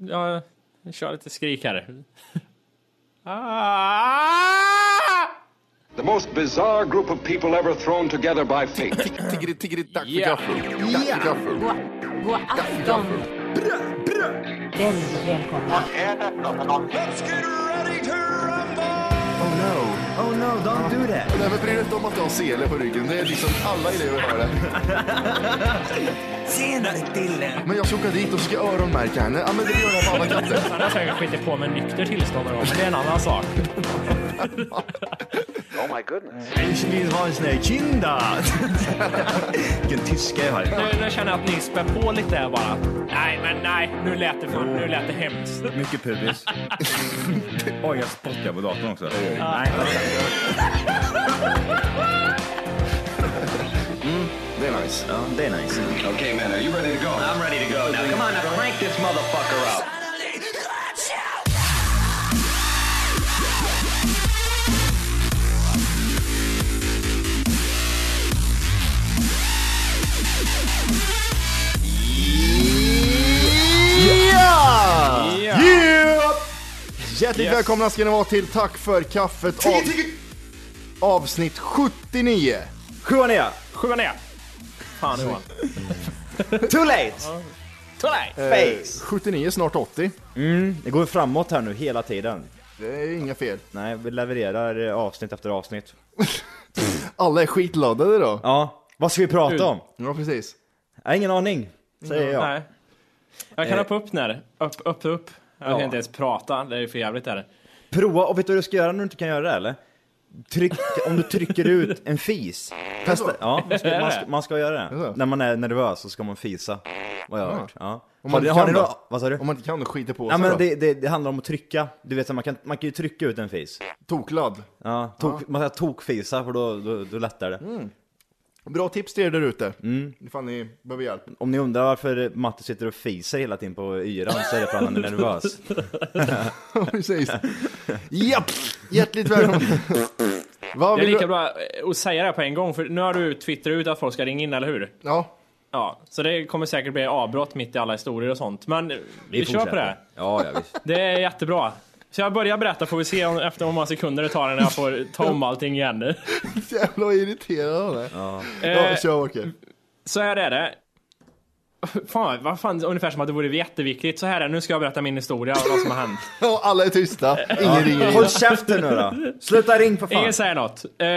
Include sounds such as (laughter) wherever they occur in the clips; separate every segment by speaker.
Speaker 1: Jag, jag kör lite skrik här. (laughs) Ah!
Speaker 2: The most bizarre group of people ever thrown together by fate.
Speaker 3: Tiggeri, tiggeri, dack för
Speaker 1: Yeah.
Speaker 3: gaffel. Dack för gaffel.
Speaker 4: God afton! Väldigt välkomna.
Speaker 3: Oh no.
Speaker 5: Oh no, don't do that.
Speaker 3: Nej, men bry dig inte om att jag har sele på ryggen. Det är liksom alla elever har det.
Speaker 5: Tjena killen!
Speaker 3: Men jag ska åka dit och ska öronmärka henne. Ja, men det gör jag på alla katter.
Speaker 1: Han har säkert skitit på med nykter tillstånd någon gång, men det är en annan sak.
Speaker 5: Ich vill ha en sån här kinda. Vilken tyska jag har.
Speaker 1: Nu, nu känner jag att ni spär på lite här bara. Nej, men nej, nu lät det, för, nu lät det hemskt.
Speaker 6: Mycket pubis. Oj, jag spottar på datorn också.
Speaker 3: Det är nice.
Speaker 6: Ja, det är nice.
Speaker 2: okay, man, are you ready to go? I'm ready to go. Now, come on, now crank this motherfucker up.
Speaker 1: Ja.
Speaker 3: Yeah! Hjärtligt
Speaker 1: Yes.
Speaker 3: välkomna ska ni vara till Tack för kaffet av... avsnitt 79.
Speaker 6: Sjuan är jag.
Speaker 1: Sjua ner. Fan Johan.
Speaker 6: (laughs) Too late!
Speaker 1: Today.
Speaker 6: Face!
Speaker 3: 79, Eh, snart 80.
Speaker 6: Det går framåt här nu hela tiden.
Speaker 3: Det är inga fel.
Speaker 6: Nej, vi levererar eh, avsnitt efter avsnitt.
Speaker 3: Alla är skitladdade idag.
Speaker 6: Ja, vad ska vi prata om?
Speaker 3: Ja, precis.
Speaker 6: Jag har ingen aning, säger jag.
Speaker 1: Nej. Jag kan
Speaker 6: Eh.
Speaker 1: hoppa upp när. Upp, upp, upp. Jag kan inte ens prata, det är ju för jävligt där.
Speaker 6: Prova, och vet du vad du ska göra när du inte kan göra det eller? Tryck, om du trycker ut en fis. Testa, ja, man ska, man, ska, man ska göra
Speaker 3: Jaså?
Speaker 6: det. När man är nervös så ska man fisa. Vad jag har hört. Ja.
Speaker 3: Om man
Speaker 6: Har ni-
Speaker 3: inte
Speaker 6: har ni
Speaker 3: kan
Speaker 6: några-
Speaker 3: då?
Speaker 6: Vad sa du?
Speaker 3: Om man inte kan, då skiter på sig
Speaker 6: Ja, men
Speaker 3: då.
Speaker 6: det, det, det handlar om att trycka. Du vet, så man kan, man kan ju trycka ut en fis.
Speaker 3: Tokladd.
Speaker 6: Ja, tok, Man ska tokfisa för då, då, då lättar det.
Speaker 1: Mm.
Speaker 3: Bra tips till er där ute.
Speaker 6: Mm.
Speaker 3: Ifall ni behöver hjälp. (laughs)
Speaker 6: Om ni undrar varför Matte sitter och fiser hela tiden på yran så är det för att han är nervös.
Speaker 3: precis. Japp!
Speaker 6: (laughs)
Speaker 3: Hjärtligt välkomna. Vad
Speaker 1: Det är
Speaker 3: vill
Speaker 1: lika
Speaker 3: du?
Speaker 1: bra eh, att säga det här på en gång, för nu har du twittrat ut att folk ska ringa in, eller hur?
Speaker 3: Ja. (laughs)
Speaker 1: Ja, så det kommer säkert bli avbrott mitt i alla historier och sånt. Men (laughs) vi, kör
Speaker 6: fortsätter.
Speaker 1: på det. här.
Speaker 6: Ja, ja visst.
Speaker 1: Det är jättebra. Så jag börjar berätta får vi se om, efter hur många sekunder det tar när jag får ta om allting igen.
Speaker 3: Jävlar vad irriterad han är. Ja,
Speaker 1: Eh,
Speaker 3: kör Åke.
Speaker 1: Så här är det. Fan, vad fan, ungefär som att det vore jätteviktigt. Så här är det, nu ska jag berätta min historia och vad som har
Speaker 3: (laughs)
Speaker 1: hänt.
Speaker 3: Ja, alla är tysta. Ingen ringer in.
Speaker 6: Håll käften nu då! Sluta ring för fan!
Speaker 1: Ingen säger något. Eh,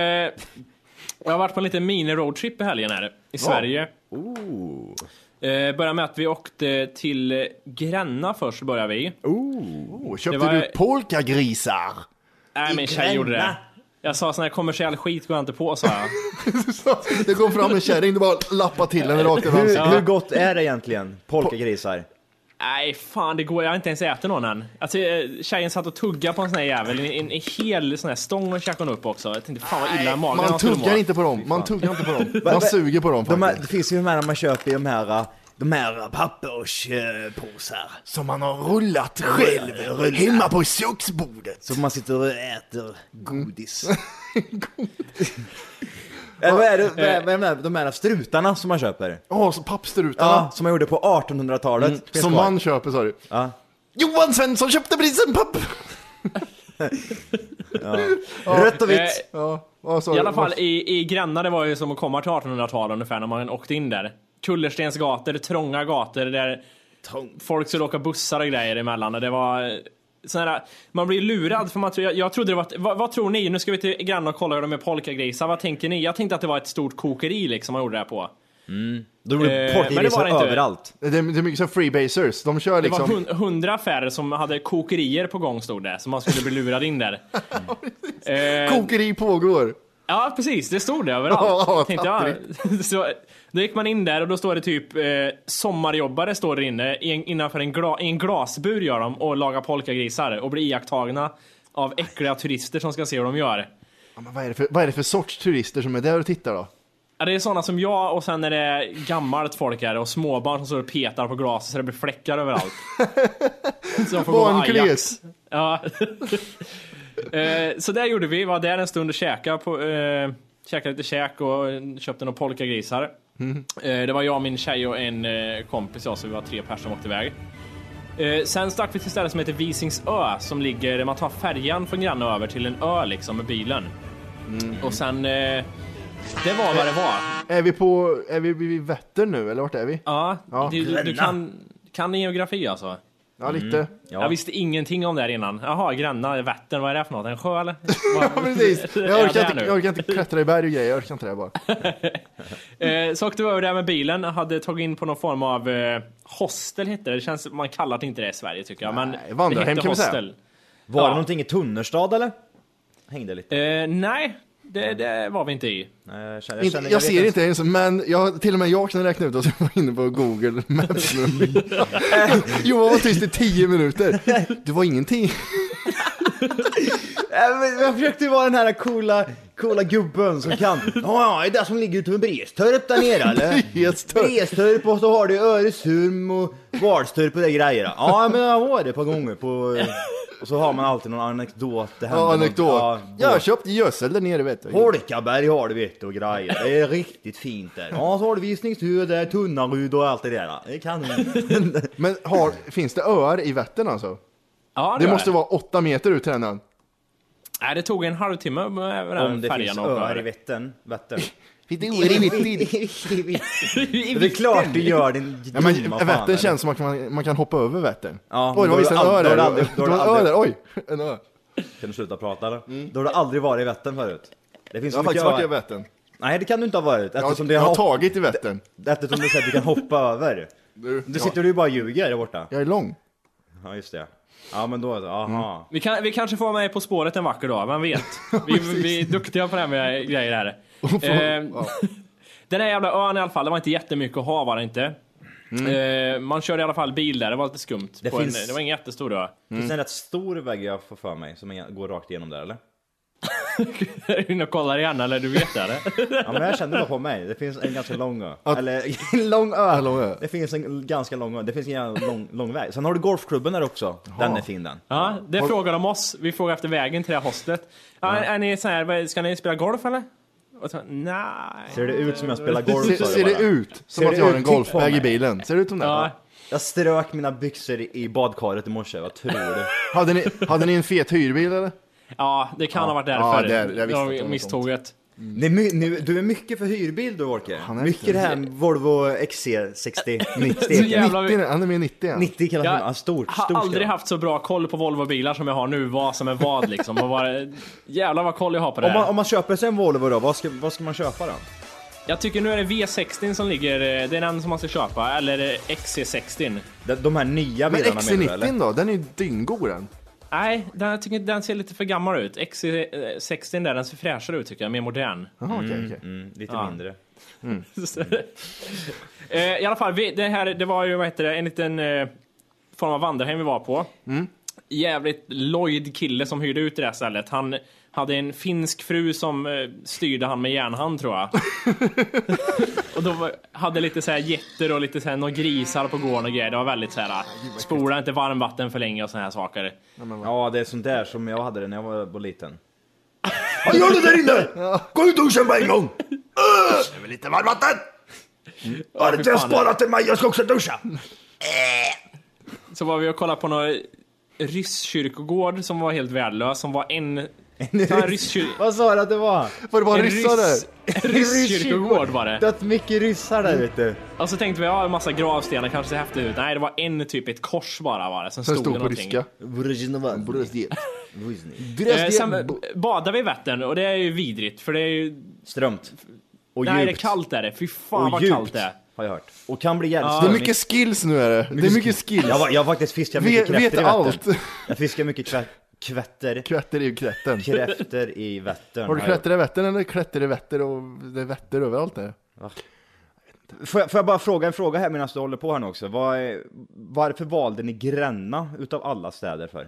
Speaker 1: jag har varit på en liten mini-roadtrip i helgen här i Sverige.
Speaker 6: Oh.
Speaker 1: Eh, började med att vi åkte till eh, Gränna först började vi.
Speaker 3: Oh, köpte
Speaker 1: Det var-
Speaker 3: du polkagrisar?
Speaker 1: Nej min tjej
Speaker 6: Gränna?
Speaker 1: gjorde det. Jag sa sån här kommersiell skit går jag inte på sa jag.
Speaker 3: Det kom fram en kärring, du (laughs) bara lappa till henne rakt över
Speaker 6: Hur,
Speaker 3: ansiktet.
Speaker 6: hur gott är det egentligen? Polkagrisar?
Speaker 1: (laughs) Nej fan det går, jag har inte ens ätit någon än. Alltså, eh, tjejen satt och tuggade på en sån här jävel, en, en, en hel sån här stång och käkade hon upp också. Jag tänkte fan vad illa magen
Speaker 3: Man
Speaker 1: han skulle må.
Speaker 3: tuggar inte på dem, man tuggar inte på
Speaker 6: (laughs)
Speaker 3: dem. Man
Speaker 6: va-
Speaker 3: suger på dem
Speaker 6: De här,
Speaker 3: faktiskt.
Speaker 6: det finns ju de här man köper i de här, de här papperspåsar.
Speaker 3: Som man har rullat själv, hemma på köksbordet.
Speaker 6: Så man sitter och äter godis.
Speaker 3: Mm. (laughs)
Speaker 6: Eller vad är det, vad är, vad är de, här, de här strutarna som man köper?
Speaker 3: Eh. Ja, så pappstrutarna.
Speaker 6: Ja, som man gjorde på 1800-talet. Finns
Speaker 3: Mm, Som
Speaker 6: kvar.
Speaker 3: man köper sa du.
Speaker 6: Ja.
Speaker 3: Johan Svensson köpte precis en papp!
Speaker 6: Rött och
Speaker 1: Eh,
Speaker 6: vitt.
Speaker 3: Ja, vad sa
Speaker 1: I
Speaker 3: du?
Speaker 1: alla fall i, i Gränna, det var ju som att komma till 1800-talet ungefär när man åkte in där. Kullerstensgator, trånga gator där folk skulle åka bussar och grejer emellan. Och det var eh, sån här, man blir lurad för man tror, jag, jag trodde det var, ett- vad, vad tror ni? Nu ska vi till Gränna och kolla hur de är polkagrisar, vad tänker ni? Jag tänkte att det var ett stort kokeri liksom man gjorde det här på.
Speaker 6: Då gjorde
Speaker 1: Eh, men det var
Speaker 6: porrgrisar
Speaker 1: det inte.
Speaker 6: överallt.
Speaker 3: Det är, det är mycket som freebasers, de kör
Speaker 1: Det var
Speaker 3: liksom...
Speaker 1: hun- hundra affärer som hade kokerier på gång stod det, så man skulle bli lurad in där. Eh,
Speaker 3: Kokeri pågår!
Speaker 1: Ja precis, det stod det
Speaker 3: Ja,
Speaker 1: överallt.
Speaker 3: vad
Speaker 1: tänkte jag. (laughs) Så, då gick man in där och då står det typ eh, sommarjobbare står där inne i en, innanför en, gla, i en glasbur gör de och lagar polkagrisar och blir iakttagna av äckliga turister som ska se hur de gör.
Speaker 3: Ja, men vad, är det för, vad är det för sorts turister som är där och tittar då?
Speaker 1: Ja, det är sådana som jag och sen är det gammalt folk här och småbarn som står och petar på glaset så det blir fläckar
Speaker 3: (laughs)
Speaker 1: överallt. Så de får gå med Ajax.
Speaker 3: Barnkles!
Speaker 1: Ja. (laughs) Eh, så där gjorde vi, var där en stund och käkade, på, eh, käkade lite käk och eh, köpte några polkagrisar. Eh, det var jag, min tjej och en eh, kompis jag, så vi var tre personer som åkte iväg. Eh, sen stack vi till stället som heter Visingsö som ligger, man tar färjan från Granne över till en ö liksom med bilen. Och sen, eh, det var vad det var.
Speaker 3: Är vi på, är vi vid Vättern nu eller vart är vi?
Speaker 1: Ja,
Speaker 3: Ja,
Speaker 1: du, du, du
Speaker 5: Gränna.
Speaker 1: kan, kan din geografi alltså?
Speaker 3: Ja, lite.
Speaker 1: Jag visste ingenting om det här innan. Jaha, Gränna, Vättern, vad är det för något? En sjö
Speaker 3: (laughs)
Speaker 1: eller?
Speaker 3: Ja,
Speaker 1: (laughs)
Speaker 3: (laughs) precis. Jag
Speaker 1: Är jag
Speaker 3: orkar,
Speaker 1: där
Speaker 3: inte,
Speaker 1: nu?
Speaker 3: jag orkar inte klättra i berg och grejer, jag orkar inte det här bara.
Speaker 1: Eh, så åkte vi över där med bilen, hade tagit in på någon form av eh, hostel hette det. det känns, man kallar det inte det i Sverige tycker jag. Men
Speaker 3: Nej, vandrarhem
Speaker 1: det hette
Speaker 3: kan vi säga.
Speaker 1: hostel.
Speaker 6: Var
Speaker 1: Ja.
Speaker 6: det någonting i Tunnerstad eller? Hängde lite.
Speaker 1: Eh, nej, det, det var vi inte i.
Speaker 6: Nej, Jag, känner,
Speaker 3: Inte,
Speaker 6: känner-
Speaker 3: jag
Speaker 6: vet
Speaker 3: ser inte ens, men jag, till och med jag kan räkna ut att jag var inne på Google (laughs) Maps nu. Johan var tyst i tio minuter. Det var ingenting.
Speaker 6: Äh, men Jag försökte ju vara den här coola, coola gubben som kan. Ja, ja, det är det som ligger ute med Brestorp där nere eller?
Speaker 3: Brestorp.
Speaker 6: Brestorp och så har du Öresurm och Valstorp och det grejer. Ja, men jag var det ett par gånger på... Och så har man alltid någon anekdot. Det händer
Speaker 3: Ja,
Speaker 6: någon-
Speaker 3: anekdot. Jag
Speaker 6: då-
Speaker 3: har köpt gödsel där nere vet du.
Speaker 6: Holkaberg har du vet du, och grejer. Det är riktigt fint där. Ja, så har du Visningshuvud, där, Tunnaryd och allt det där. Det är kanon.
Speaker 3: Men har, finns det öar i Vättern alltså?
Speaker 1: Ja,
Speaker 3: Det
Speaker 1: var
Speaker 3: måste vara åtta meter ut till den ön.
Speaker 1: Nej, det tog en halvtimme med
Speaker 6: Om
Speaker 1: den
Speaker 6: det
Speaker 1: färjan
Speaker 6: finns
Speaker 1: att åka
Speaker 6: öar i
Speaker 1: över. (laughs)
Speaker 6: Vättern. Vättern.
Speaker 3: Det
Speaker 6: (laughs)
Speaker 3: är
Speaker 6: Det är klart du gör din
Speaker 3: Ja,
Speaker 6: dumma
Speaker 3: men
Speaker 6: fan.
Speaker 3: Vättern
Speaker 6: eller?
Speaker 3: känns som att man, man kan hoppa över Vättern.
Speaker 6: Ja,
Speaker 3: Oj, det
Speaker 6: då
Speaker 3: var visst en
Speaker 6: har du
Speaker 3: ö
Speaker 6: aldrig-
Speaker 3: där.
Speaker 6: då har du aldrig-
Speaker 3: Det var
Speaker 6: då har du
Speaker 3: en ö
Speaker 6: aldrig-
Speaker 3: där, oj! En ö.
Speaker 6: Kan du sluta prata eller? Mm. Då har du aldrig varit i Vättern förut. Det finns
Speaker 3: Jag har
Speaker 6: så mycket
Speaker 3: faktiskt varit i
Speaker 6: öar.
Speaker 3: Vättern.
Speaker 6: Nej det kan du inte ha varit
Speaker 3: Jag,
Speaker 6: eftersom,
Speaker 3: har- jag
Speaker 6: Alltså, det
Speaker 3: har
Speaker 6: har hopp...
Speaker 3: tagit i Vättern.
Speaker 6: eftersom du säger att du
Speaker 3: (laughs)
Speaker 6: kan hoppa över.
Speaker 3: Du,
Speaker 6: Du sitter du ju bara och ljuger där borta.
Speaker 3: Jag är lång.
Speaker 6: Ja just det. Ja men då,
Speaker 3: Mm.
Speaker 6: aha.
Speaker 1: Vi, kan, vi kanske får med På spåret en vacker dag, vem
Speaker 3: (laughs)
Speaker 1: vet? Vi, vi är duktiga på det här med grejer här. Eh, (laughs) Den här jävla ön i alla fall, det var inte jättemycket att ha var det inte.
Speaker 3: Mm.
Speaker 1: Eh, man körde i alla fall bil där, det var lite skumt.
Speaker 6: Det
Speaker 1: på en,
Speaker 6: finns-
Speaker 1: det var ingen jättestor ö. (laughs)
Speaker 6: Finns
Speaker 3: Mm.
Speaker 6: det en rätt stor vägg jag får för mig som går rakt igenom där eller?
Speaker 1: Är du inne och kollar igen eller du vet
Speaker 3: (laughs)
Speaker 1: det eller?
Speaker 6: Ja men jag kände bara på mig, det finns en ganska lång ö.
Speaker 3: Att- (laughs)
Speaker 6: Eller en lång ö.
Speaker 3: Hallå, ö.
Speaker 6: Det finns en ganska lång ö, det finns en jävla lång, lång väg. Sen har du golfklubben där också, den är fin den.
Speaker 1: Ja, det frågar de oss. Vi frågar efter vägen till det här hostlet. Ja. Är, är ni så här, vad- ska ni spela golf eller? Och så, nej.
Speaker 6: Ser det ut som jag spelar golf
Speaker 3: Ser,
Speaker 6: sa du
Speaker 3: ser det
Speaker 6: bara.
Speaker 3: ut som
Speaker 6: Ser
Speaker 3: att
Speaker 6: det
Speaker 3: jag har
Speaker 6: ut?
Speaker 3: en
Speaker 6: Titta på
Speaker 3: golfbag
Speaker 6: mig.
Speaker 3: i bilen? Ser det ut som det?
Speaker 1: Ja.
Speaker 6: Jag strök mina byxor i i badkaret i morse, vad tror (laughs) du?
Speaker 3: Hade, ni, hade ni en fet hyrbil eller?
Speaker 1: Ja, det kan ha varit
Speaker 3: Ja,
Speaker 1: därför.
Speaker 3: det- jag visste att det var
Speaker 1: de
Speaker 3: något
Speaker 1: misstog det.
Speaker 6: Nej, my, nu, du är mycket för hyrbil du Orke.
Speaker 3: är
Speaker 6: Mycket
Speaker 3: inte-
Speaker 6: det här med Volvo
Speaker 1: (laughs)
Speaker 6: XC60, 90,
Speaker 1: Så jävla- Jävlar, vi-
Speaker 3: 90, han är med i 90 igen.
Speaker 6: 90 kan
Speaker 1: Jag
Speaker 6: jag ja, stort,
Speaker 1: har
Speaker 6: stort.
Speaker 1: aldrig haft så bra koll på Volvo-bilar som jag har nu, vad som är vad liksom. Och vad, jävlar vad koll jag har på det
Speaker 6: om, man,
Speaker 1: här.
Speaker 6: om man köper sig en Volvo då, vad ska, vad ska man köpa då?
Speaker 1: Jag tycker nu är det V60 som ligger, eh, det är den som man ska köpa, eller eh, XC60.
Speaker 6: De, de här nya
Speaker 3: Men
Speaker 6: bilarna menar du eller?
Speaker 3: XC90 då? Den är ju dyngod den.
Speaker 1: Nej, den, jag tycker den ser lite för gammal ut. XC60 där, den ser fräschare ut tycker jag, mer modern.
Speaker 3: Jaha, okej, okej.
Speaker 6: Mm, lite
Speaker 1: Ja.
Speaker 6: mindre.
Speaker 1: Eh, I alla fall, vi, det här det var ju vad heter det, en liten eh, form av vandrarhem vi var på. Jävligt lojd kille som hyrde ut det där stället. Han hade en finsk fru som eh, styrde han med järnhand tror jag. och då var- hade lite så här getter och lite så här, några grisar på gården och grejer. Det var väldigt så här, spola inte varmvatten för länge och såna här saker.
Speaker 6: Ja, det är sånt där som jag hade det när jag var var liten.
Speaker 5: Vad gör du där inne? Gå ut ur duschen på en gång! Öh, Jag vill inte varmvatten! Har du inte
Speaker 1: fan.
Speaker 5: sparat till mig? Jag ska också duscha!
Speaker 1: Så var vi och kollade på någon rysskyrkogård som var helt värdelös, som var en... Så
Speaker 6: (laughs)
Speaker 1: här rysskyrk-
Speaker 6: Vad sa du att det var?
Speaker 3: Var det
Speaker 1: (laughs)
Speaker 3: bara
Speaker 1: En
Speaker 3: ryssar där?
Speaker 1: ryss- Rysskyrkogård var det.
Speaker 6: Det är mycket ryssar där vet du.
Speaker 1: Och så tänkte vi, ja en massa gravstenar kanske ser häftigt ut. Nej, det var en typ, ett kors bara var det. Sen
Speaker 3: Som
Speaker 1: stod, det
Speaker 3: stod på
Speaker 1: någonting.
Speaker 3: ryska.
Speaker 1: Eh, sen eh, badade vi i Vättern och det är ju vidrigt för det är ju...
Speaker 6: Strömt. Och
Speaker 1: nej, det är
Speaker 6: djupt.
Speaker 1: kallt är det. Fy fan
Speaker 6: Och
Speaker 1: vad kallt
Speaker 6: djupt,
Speaker 1: det är.
Speaker 6: har jag hört. Och kan bli jävligt
Speaker 3: Det är
Speaker 6: störigt.
Speaker 3: mycket skills nu är det. Det är mycket skills.
Speaker 6: Jag, var- jag har faktiskt fiskat mycket
Speaker 3: Vet,
Speaker 6: kräftor
Speaker 3: vet
Speaker 6: i Vättern.
Speaker 3: allt.
Speaker 6: Jag fiskar mycket kvä- kvätter,
Speaker 3: Krätter i krätten.
Speaker 6: kräfter i Vättern.
Speaker 3: Har du
Speaker 6: har jag
Speaker 3: krätter i Vättern eller krätter i Vätter och det är Vätter överallt där?
Speaker 6: gjort. Får jag, får jag bara fråga en fråga här medan du håller på här nu också? Vad är, varför valde ni Gränna utav alla städer för?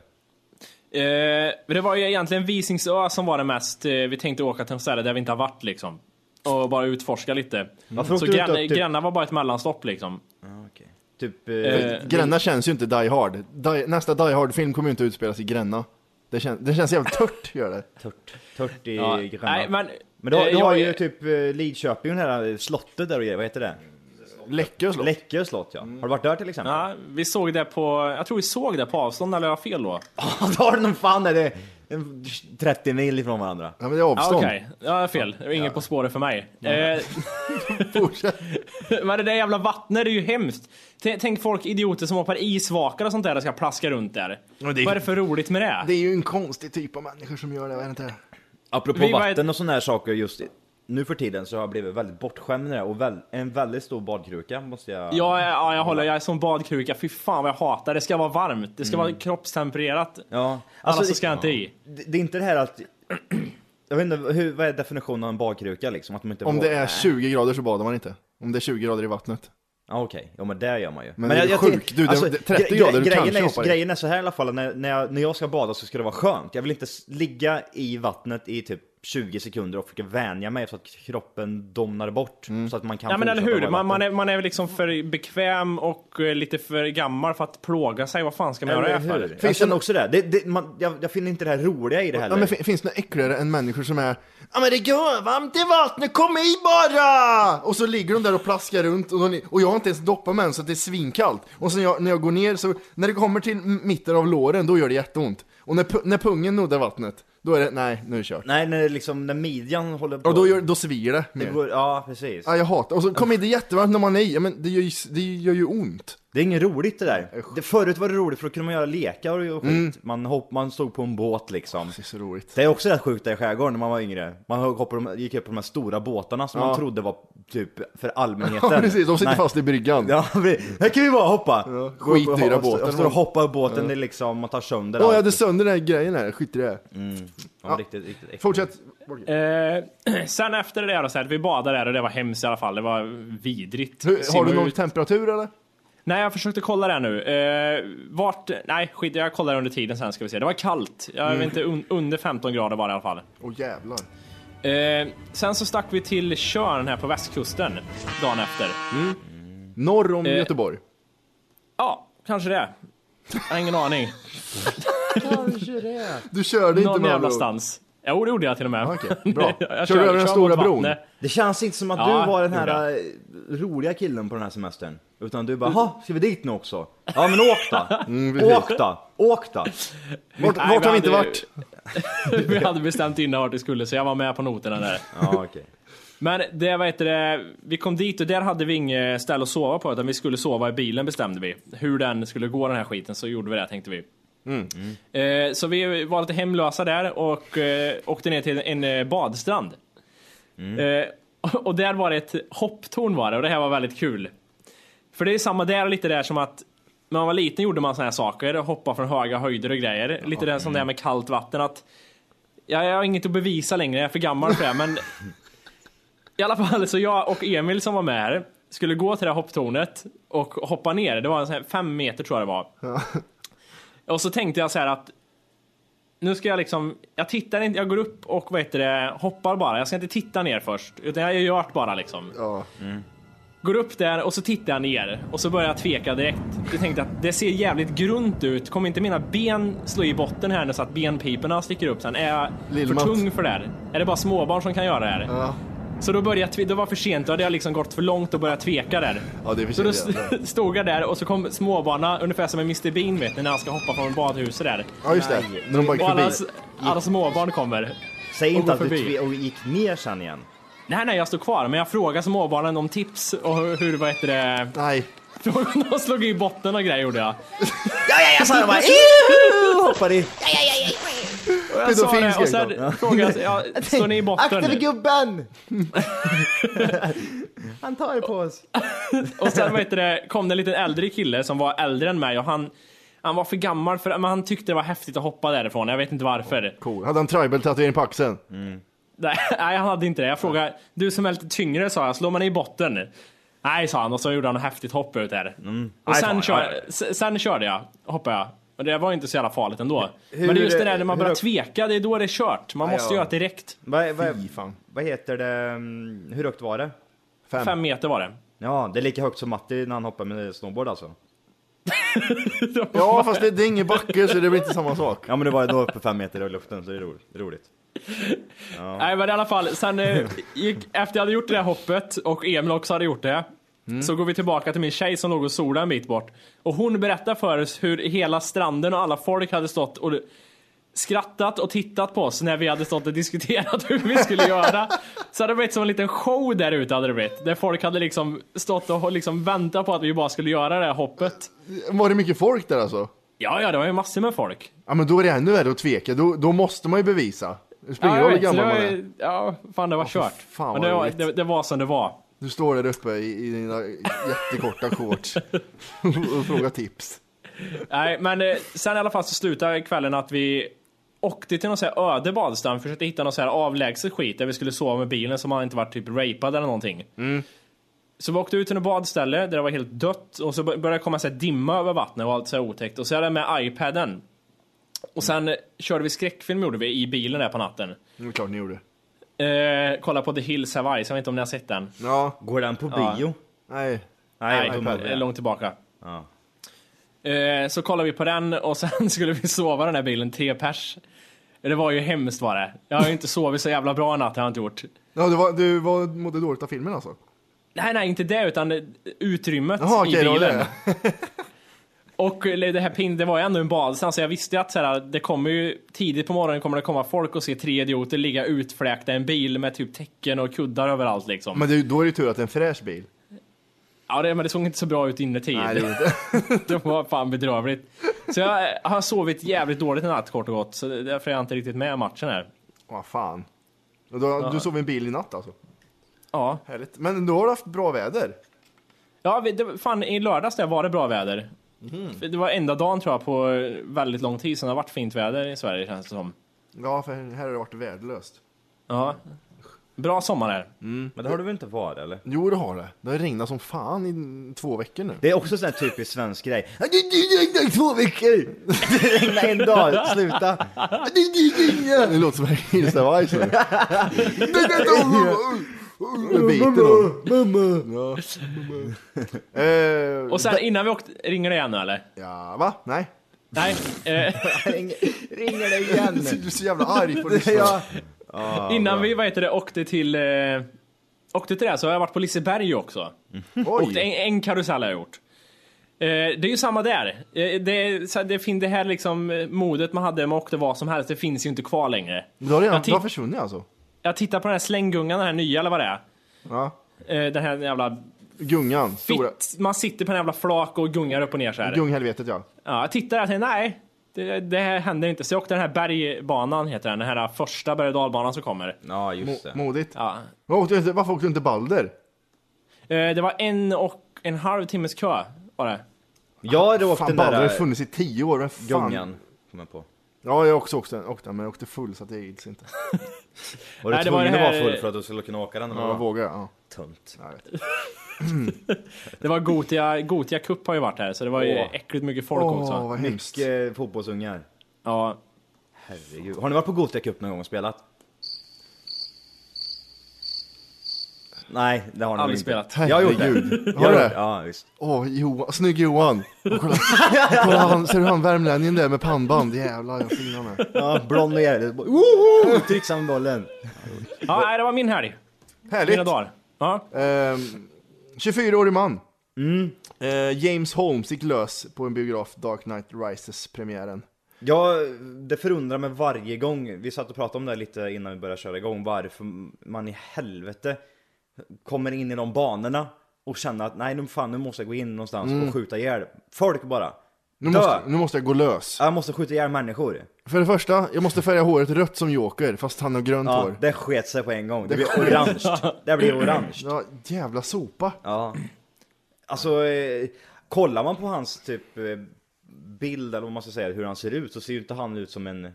Speaker 1: Eh, men det var ju egentligen Visingsö som var det mest, eh, vi tänkte åka till en ställe där vi inte har varit liksom. Och bara utforska lite.
Speaker 6: Mm. Varför
Speaker 1: Så
Speaker 6: åkte du inte
Speaker 1: Gränna,
Speaker 6: upp till-
Speaker 1: Gränna var bara ett mellanstopp liksom.
Speaker 6: Typ... Eh,
Speaker 1: Eh,
Speaker 3: Gränna känns ju inte Die Hard. Die, nästa Die Hard-film kommer ju inte utspelas i Gränna. Det, kän, det känns jävligt tört, gör det.
Speaker 6: Tört, tört i
Speaker 1: ja.
Speaker 6: Gränna.
Speaker 1: Nej, men...
Speaker 6: Men du har, typ,
Speaker 1: eh,
Speaker 6: du har
Speaker 1: jag-
Speaker 6: ju typ eh, Lidköping, det här slottet där och grejer, vad heter det?
Speaker 3: Läckö slott.
Speaker 6: Läckö slott ja. Har du varit där till exempel?
Speaker 1: Ja, vi såg det på, jag tror vi såg det på avstånd, eller har jag fel då?
Speaker 6: Ja. (laughs) Då har du någon fan där det är en 30 mil ifrån varandra.
Speaker 3: Ja, men det är
Speaker 1: Ja, Ah, Okej,
Speaker 3: avstånd. (laughs)
Speaker 1: ja, jag har fel. Det var Inget på spåret för mig. Eh, (laughs) men det där jävla vattnet är ju hemskt. T- Tänk folk, idioter som hoppar isvakar och sånt där och ska plaska runt där.
Speaker 5: det är-
Speaker 1: Vad är det för roligt med det?
Speaker 3: Det är ju en konstig typ av människor som gör det, vad är det inte?
Speaker 6: Apropå
Speaker 1: Vi var-
Speaker 6: vatten och sådana här saker just i- nu för tiden så har jag blivit väldigt bortskämd med det och väl, en väldigt stor badkruka måste jag...
Speaker 1: Ja, ja, ja, jag håller, jag är som badkruka. Fy fan vad jag hatar det. ska vara varmt, det ska vara kroppstempererat.
Speaker 6: Ja.
Speaker 1: Annars
Speaker 6: Alltså,
Speaker 1: så ska jag inte i.
Speaker 6: det, det är inte det här att... (clears throat) Jag vet inte, hur, vad är definitionen av en badkruka liksom? Att de inte
Speaker 3: Om
Speaker 6: vågar-
Speaker 3: det är 20 grader så badar man inte. Om det är 20 grader i vattnet.
Speaker 6: Ja okej, ja men det gör man ju.
Speaker 3: Men är du sjuk? Du, det- det- 30 grader, du
Speaker 6: alltså, grejen,
Speaker 3: kanske
Speaker 6: är,
Speaker 3: hoppar i.
Speaker 6: grejen är så här i alla fall, när, när, jag, när jag ska bada så ska det vara skönt. Jag vill inte s- ligga i vattnet i typ 20 sekunder och försöka vänja mig så att kroppen domnar bort.
Speaker 3: Mm.
Speaker 6: Så att man kan
Speaker 1: Ja men eller
Speaker 6: fortsätta
Speaker 1: hur,
Speaker 6: vara i
Speaker 1: man, man,
Speaker 6: vatten.
Speaker 1: är, man är väl liksom för bekväm och eh, lite för gammal för att plåga sig. Vad fan ska man göra det
Speaker 6: Eller hur?
Speaker 1: för?
Speaker 6: Jag
Speaker 3: Finns
Speaker 6: känner
Speaker 3: det-
Speaker 6: också det. det, det man, jag, jag finner inte det här roliga i det heller.
Speaker 3: Alltså- Ja, men fin- finns det något äckligare än människor som är Ja men det gör varmt i vattnet, kom i bara! Och så ligger de där och plaskar runt och, de, och jag har inte ens doppat mig än så att det är svinkallt. Och sen jag, när jag går ner så, när det kommer till m- mitten av låren då gör det jätteont. Och när, pu- när pungen nuddar vattnet, då är det nej, nu är det kört.
Speaker 6: Nej, när, det liksom, när midjan håller på.
Speaker 3: Och då, gör, Mm. då svider det
Speaker 6: det
Speaker 3: mer.
Speaker 6: går, ja, precis.
Speaker 3: Ja, jag hatar. Och så kommer det jättevarmt när man är i, ja, men det gör, ju, det gör ju ont.
Speaker 6: Det är inget roligt det där. Det, förut var det roligt för då kunde man göra lekar och skit.
Speaker 3: Mm.
Speaker 6: Man, hopp, man stod på en båt liksom.
Speaker 3: Det är så roligt.
Speaker 6: Det är också rätt sjukt där i skärgården när man var yngre. Man hoppade, gick upp på de här stora båtarna som man trodde var typ för allmänheten.
Speaker 3: (laughs) Ja (laughs) precis, de sitter
Speaker 6: Nej.
Speaker 3: fast i bryggan.
Speaker 6: Ja, vi- här kan vi bara hoppa!
Speaker 3: Ja, skitdyra
Speaker 6: Och- och- och-
Speaker 3: båten.
Speaker 6: Och står och hoppar i båten, det är liksom, man tar sönder
Speaker 3: Åh, jag
Speaker 6: allt.
Speaker 3: hade sönder den här grejen här, skit i det.
Speaker 6: Ja, Riktigt, riktigt äckligt.
Speaker 3: Fortsätt.
Speaker 1: Eh, (clears throat) sen efter det där då, så här, att vi badade där och det var hemskt i alla fall. Det var vidrigt.
Speaker 3: Hur, har
Speaker 1: Simma
Speaker 3: du någon
Speaker 1: ut.
Speaker 3: temperatur eller?
Speaker 1: Nej, jag försökte kolla det här nu. Eh, vart... Nej, skit. Jag kollar under tiden sen ska vi se. Det var kallt. Jag
Speaker 3: Mm.
Speaker 1: vet inte, un, under 15 grader var det i alla fall.
Speaker 3: Åh jävlar.
Speaker 1: Eh, sen så stack vi till Tjörn här på västkusten dagen efter.
Speaker 3: Norr om
Speaker 1: Eh.
Speaker 3: Göteborg.
Speaker 1: Ja, kanske det. Jag har ingen
Speaker 3: (laughs)
Speaker 1: aning.
Speaker 3: Du körde inte
Speaker 1: Någon
Speaker 3: med
Speaker 1: jävla
Speaker 3: andra ord.
Speaker 1: stans. Jo, det gjorde jag till och med.
Speaker 3: Ah,
Speaker 1: (laughs)
Speaker 3: okej, bra.
Speaker 1: Jag
Speaker 3: Körde över den
Speaker 1: kör
Speaker 3: stora
Speaker 1: mot
Speaker 3: bron?
Speaker 1: vattnet. (laughs)
Speaker 6: Det känns inte som att
Speaker 1: Ja,
Speaker 6: du var den
Speaker 1: det gjorde
Speaker 6: här eh, roliga killen på den här semestern. Utan du bara, ha, ska vi dit nu också? Ja men åk då!
Speaker 3: precis.
Speaker 6: åk då! Åk då!
Speaker 3: Vart,
Speaker 1: Nej,
Speaker 3: vart
Speaker 1: vi
Speaker 3: har vi inte
Speaker 1: hade-
Speaker 3: varit?
Speaker 1: vi hade bestämt innan vart vi skulle, så jag var med på noterna där.
Speaker 6: Ja okej.
Speaker 1: Men det, vad heter det, vi kom dit och där hade vi inget ställe att sova på utan vi skulle sova i bilen bestämde vi. Hur den skulle gå den här skiten så gjorde vi det tänkte vi. Eh, så vi var lite hemlösa där och eh, åkte ner till en eh, badstrand. Eh, (laughs) och- och där var det ett hopptorn var det och det här var väldigt kul. För det är samma där lite där som att när man var liten gjorde man såna här saker, hoppa från höga höjder och grejer. Lite där som det här med kallt vatten att jag, jag har inget att bevisa längre, jag är för gammal för det men i alla fall så jag och Emil som var med här skulle gå till det här hopptornet och hoppa ner. Det var en sån här fem meter tror jag det var. Och så tänkte jag så här att nu ska jag liksom, jag tittar inte, jag går upp och vad heter det, hoppar bara. Jag ska inte titta ner först, utan jag gör det bara liksom.
Speaker 3: Ja.
Speaker 1: Går upp där och så tittar jag ner och så börjar jag tveka direkt. Jag tänkte att det ser jävligt grunt ut. Kommer inte mina ben slå i botten här nu så att benpiporna sticker upp sen? Är jag
Speaker 3: Lill-Mats.
Speaker 1: för tung för det här? Är det bara småbarn som kan göra det här?
Speaker 3: Ja.
Speaker 1: Så då började jag, tve- då var jag för sent, då hade jag liksom gått för långt och börjat tveka där.
Speaker 3: Ja, det är för
Speaker 1: så då
Speaker 3: sent,
Speaker 1: st- (laughs) stod jag där och så kom småbarna, ungefär som en Mr Bean vet ni, när han ska hoppa från badhuset där.
Speaker 3: ja, just det. När de bara gick
Speaker 1: Och alla,
Speaker 3: förbi.
Speaker 1: s- alla småbarn kommer.
Speaker 6: Säg
Speaker 1: Och
Speaker 6: inte
Speaker 1: gå
Speaker 6: att du
Speaker 1: förbi.
Speaker 6: tve- och gick ner sen igen.
Speaker 1: Nej, nej, jag står kvar, men jag frågar småbarnen om tips och hur, hur vad heter det, (laughs)
Speaker 3: Nej.
Speaker 1: frågade om de slog i botten och grejer gjorde jag.
Speaker 6: Ja ja ja sa (laughs) de bara, "Ew!" hoppade i.
Speaker 1: Och jag sa det
Speaker 3: Pedofil
Speaker 1: och
Speaker 3: skrek
Speaker 1: sen frågade
Speaker 6: (laughs)
Speaker 1: jag, ja, står ni i botten?
Speaker 6: Akta för gubben! Han tar det på oss.
Speaker 1: Och sen vad heter det, kom det en liten äldre kille som var äldre än mig och han, han var för gammal för men han tyckte det var häftigt att hoppa därifrån, jag vet inte varför.
Speaker 3: Cool. Hade han tribal-tatuering på axeln?
Speaker 1: Mm. Nej, (laughs) nej, han hade inte det. Jag frågade, du som är lite tyngre sa jag, slår man i botten? Nej, sa han och så gjorde han ett häftigt hopp ut där. Och
Speaker 6: Mm. Nej,
Speaker 1: sen,
Speaker 6: fan,
Speaker 1: kör,
Speaker 6: ja.
Speaker 1: s- sen körde jag, hoppade jag. Och det var inte så jävla farligt ändå.
Speaker 6: Hur-
Speaker 1: Men det är just det där när man
Speaker 6: hur-
Speaker 1: börjar tveka, det är då det är kört. Man måste
Speaker 6: ja.
Speaker 1: göra det direkt.
Speaker 6: Vad, vad,
Speaker 3: Fy fan.
Speaker 6: vad heter det, mm, hur högt var det?
Speaker 3: Fem.
Speaker 1: Fem meter var det.
Speaker 6: Ja, det är lika högt som Matti när han hoppar med snowboard alltså.
Speaker 3: Ja, fast det, det är ingen backe så det blir inte samma sak.
Speaker 6: Ja men det var då uppe fem meter i luften så det är roligt. Det är roligt.
Speaker 3: (laughs)
Speaker 1: Nej men i alla fall, sen eh, gick, efter jag hade gjort det där hoppet och Emil också hade gjort det.
Speaker 3: Mm.
Speaker 1: Så går vi tillbaka till min tjej som låg och solade en bit bort. Och hon berättar för oss hur hela stranden och alla folk hade stått och skrattat och tittat på oss när vi hade stått och diskuterat (laughs) hur vi skulle göra. Så hade det blivit som en liten show där ute hade det blivit. Där folk hade liksom stått och liksom väntat på att vi bara skulle göra det här hoppet.
Speaker 3: Var det mycket folk där alltså?
Speaker 1: Ja, ja, det var ju massor med folk.
Speaker 3: Ja men då är det ännu värre att tveka, då, då måste man ju bevisa. Det spelar
Speaker 1: Ja,
Speaker 3: ingen
Speaker 1: jag
Speaker 3: roll hur
Speaker 1: vet, så
Speaker 3: gammal
Speaker 1: det
Speaker 3: man
Speaker 1: var,
Speaker 3: är.
Speaker 1: ju- ja, fan det var kört.
Speaker 3: fan,
Speaker 1: Men
Speaker 3: vad
Speaker 1: det, var,
Speaker 3: roligt.
Speaker 1: det, det var som det var.
Speaker 3: Du står där uppe i, i dina jättekorta
Speaker 1: (laughs)
Speaker 3: shorts och frågar tips.
Speaker 1: Nej, men eh, sen i alla fall så slutade kvällen att vi åkte till någon så här öde badstrand, försökte hitta någon så här avlägset skit där vi skulle sova med bilen så man inte var typ rapad eller någonting. Så vi åkte ut till något badställe där det var helt dött och så bör- började det komma så här dimma över vattnet och allt så här otäckt. Och så hade jag med iPaden. Och sen eh, körde vi skräckfilm gjorde vi i bilen där på natten.
Speaker 3: Det är klart ni gjorde.
Speaker 1: Eh, kolla på The Hills Have Eyes, jag vet inte om ni har sett den?
Speaker 3: Ja,
Speaker 6: Går den på bio?
Speaker 3: nej.
Speaker 1: Nej, de,
Speaker 6: iPad,
Speaker 1: är
Speaker 6: ja.
Speaker 1: långt tillbaka.
Speaker 6: Ja.
Speaker 1: Eh, så kollade vi på den och sen (laughs) skulle vi sova den här bilen, tre pers. Det var ju hemskt var det. Jag har ju inte sovit så jävla bra i natt, det har jag inte gjort.
Speaker 3: Ja, du, var, du var, mådde dåligt av filmen alltså?
Speaker 1: Nej, nej, inte det, utan eh, utrymmet
Speaker 3: Jaha,
Speaker 1: i
Speaker 3: okej, det var
Speaker 1: bilen.
Speaker 3: det.
Speaker 1: (laughs) Och eller, det här pin, det var ju ändå en badstrand, så alltså, jag visste ju att så här, det kommer ju, tidigt på morgonen kommer det komma folk och se tre idioter ligga utfläkta i en bil med typ täcken och kuddar överallt liksom.
Speaker 3: Men det, då är det tur att det är en fräsch bil.
Speaker 1: Ja, det, men det såg inte så bra ut inuti.
Speaker 3: Nej, det gjorde inte.
Speaker 1: Det var fan bedrövligt. Så jag eh, har sovit jävligt dåligt i natt kort och gott, så det- därför är jag inte riktigt med i matchen här.
Speaker 3: Vad fan. Och då, du sov i en bil i natt alltså?
Speaker 1: Ja,
Speaker 3: Härligt. Men då har du haft bra väder.
Speaker 1: ja vi- det, var- fan i lördags där var det bra väder. För Det var enda dagen tror jag på väldigt lång tid sedan det har varit fint väder i Sverige känns det som.
Speaker 3: Ja, för här har det varit värdelöst.
Speaker 1: Ja. Bra sommar här.
Speaker 6: Men det har du väl inte varit eller?
Speaker 3: Jo, det har det. Det har regnat som fan i två veckor nu.
Speaker 6: Det är också en sån här typisk svensk grej. Det regnar i två veckor! Det regnar en dag, sluta!
Speaker 3: Det låter som en Hills Have Eyes nu. Nu biter hon. Ja. Eh,
Speaker 1: Och sen innan vi åkte, ringer det igen nu eller?
Speaker 3: Ja, va? Nej?
Speaker 1: Nej, eh,
Speaker 6: Ringer det igen?
Speaker 3: (laughs) Du är så jävla arg
Speaker 6: (laughs)
Speaker 3: på det.
Speaker 6: Ja.
Speaker 1: innan vi vad heter det, åkte till eh, Åkte till det här så har jag varit på Liseberg också. Åkt en,
Speaker 3: Oj.
Speaker 1: en karusell har jag gjort. Eh, det är ju samma där. Eh, det, är så här, det, fin- det här liksom eh, modet man hade, man åkte vad som helst, det finns ju inte kvar längre.
Speaker 3: Du har redan
Speaker 1: Jag titt-
Speaker 3: du har försvunnit alltså?
Speaker 1: Jag tittar på den här slänggungan, den här nya eller vad det är.
Speaker 3: Ja.
Speaker 1: Eh, Den här jävla
Speaker 3: Gungan. Stora.
Speaker 1: fitt, man sitter på en jävla flak och gungar upp och ner så här.
Speaker 3: Gunghelvetet ja.
Speaker 1: Ja, jag tittar och tänkte nej, det, det här händer inte. Så jag åkte den här bergbanan, heter den, den här första berg och dalbanan som kommer.
Speaker 6: Ja, just det.
Speaker 3: Modigt.
Speaker 1: Ja.
Speaker 3: Varför åkte du inte- varför åkte du inte Balder?
Speaker 1: Eh, Det var en och en halv timmes kö var det.
Speaker 6: Jag har åkt
Speaker 3: Fan,
Speaker 6: den
Speaker 3: Balder har
Speaker 6: där
Speaker 3: ju funnits i tio år. Men fan.
Speaker 6: gungan. Kom jag på.
Speaker 3: Ja, jag har också åkt den, åkt den, men jag åkte full så att det gills inte.
Speaker 6: Var du
Speaker 1: Nej, det var
Speaker 6: tvungen
Speaker 1: det här-
Speaker 6: att vara full för att du skulle kunna åka den? eller
Speaker 3: Ja, jag
Speaker 6: vad?
Speaker 3: vågar. Ja.
Speaker 6: Tunt.
Speaker 1: Det var Gotia, Gotia Cup har ju varit här, så det var ju
Speaker 6: Åh.
Speaker 1: äckligt mycket folk
Speaker 3: Åh,
Speaker 1: också.
Speaker 3: vad hemskt.
Speaker 6: Mycket fotbollsungar.
Speaker 1: Ja.
Speaker 6: Herregud. Har ni varit på Gothia Cup någon gång och spelat? Nej, det har ni väl
Speaker 1: Aldrig
Speaker 6: inte.
Speaker 1: spelat.
Speaker 6: Jag har gjort
Speaker 3: Herregud.
Speaker 6: det.
Speaker 3: Har du
Speaker 6: Jag
Speaker 3: det?
Speaker 6: Ja, visst.
Speaker 3: Åh, Johan. Snygg Johan. Och
Speaker 6: (laughs)
Speaker 3: Kolla, kolla han, ser du han värmlänningen där med pannband? Jävlar, jag fin han är.
Speaker 6: Ja, blond och jävligt. Woho! Trixar med bollen.
Speaker 1: Ja, nej, det var min helg. Mina
Speaker 3: Härligt.
Speaker 1: dagar. Ja.
Speaker 3: Ehm, 24-årig man. Eh, James Holmes gick lös på en biograf Dark Knight Rises-premiären.
Speaker 6: Ja, det förundrar mig varje gång. Vi satt och pratade om det här lite innan vi började köra igång. Varför man i helvete kommer in i de banorna och känner att nej, nu fan, nu måste jag gå in någonstans och skjuta ihjäl folk bara.
Speaker 3: Nu
Speaker 6: Dö!
Speaker 3: måste, nu måste jag gå lös.
Speaker 6: Jag måste skjuta ihjäl människor.
Speaker 3: För det första, jag måste färga håret rött som Joker, fast han har grönt
Speaker 6: Ja,
Speaker 3: hår.
Speaker 6: det sket sig på en gång. Det blir orange. Det blir orange.
Speaker 3: Ja, jävla sopa.
Speaker 6: Ja. Alltså, eh, kollar man på hans typ eh, bild eller vad man ska säga, hur han ser ut, så ser ju inte han ut som en...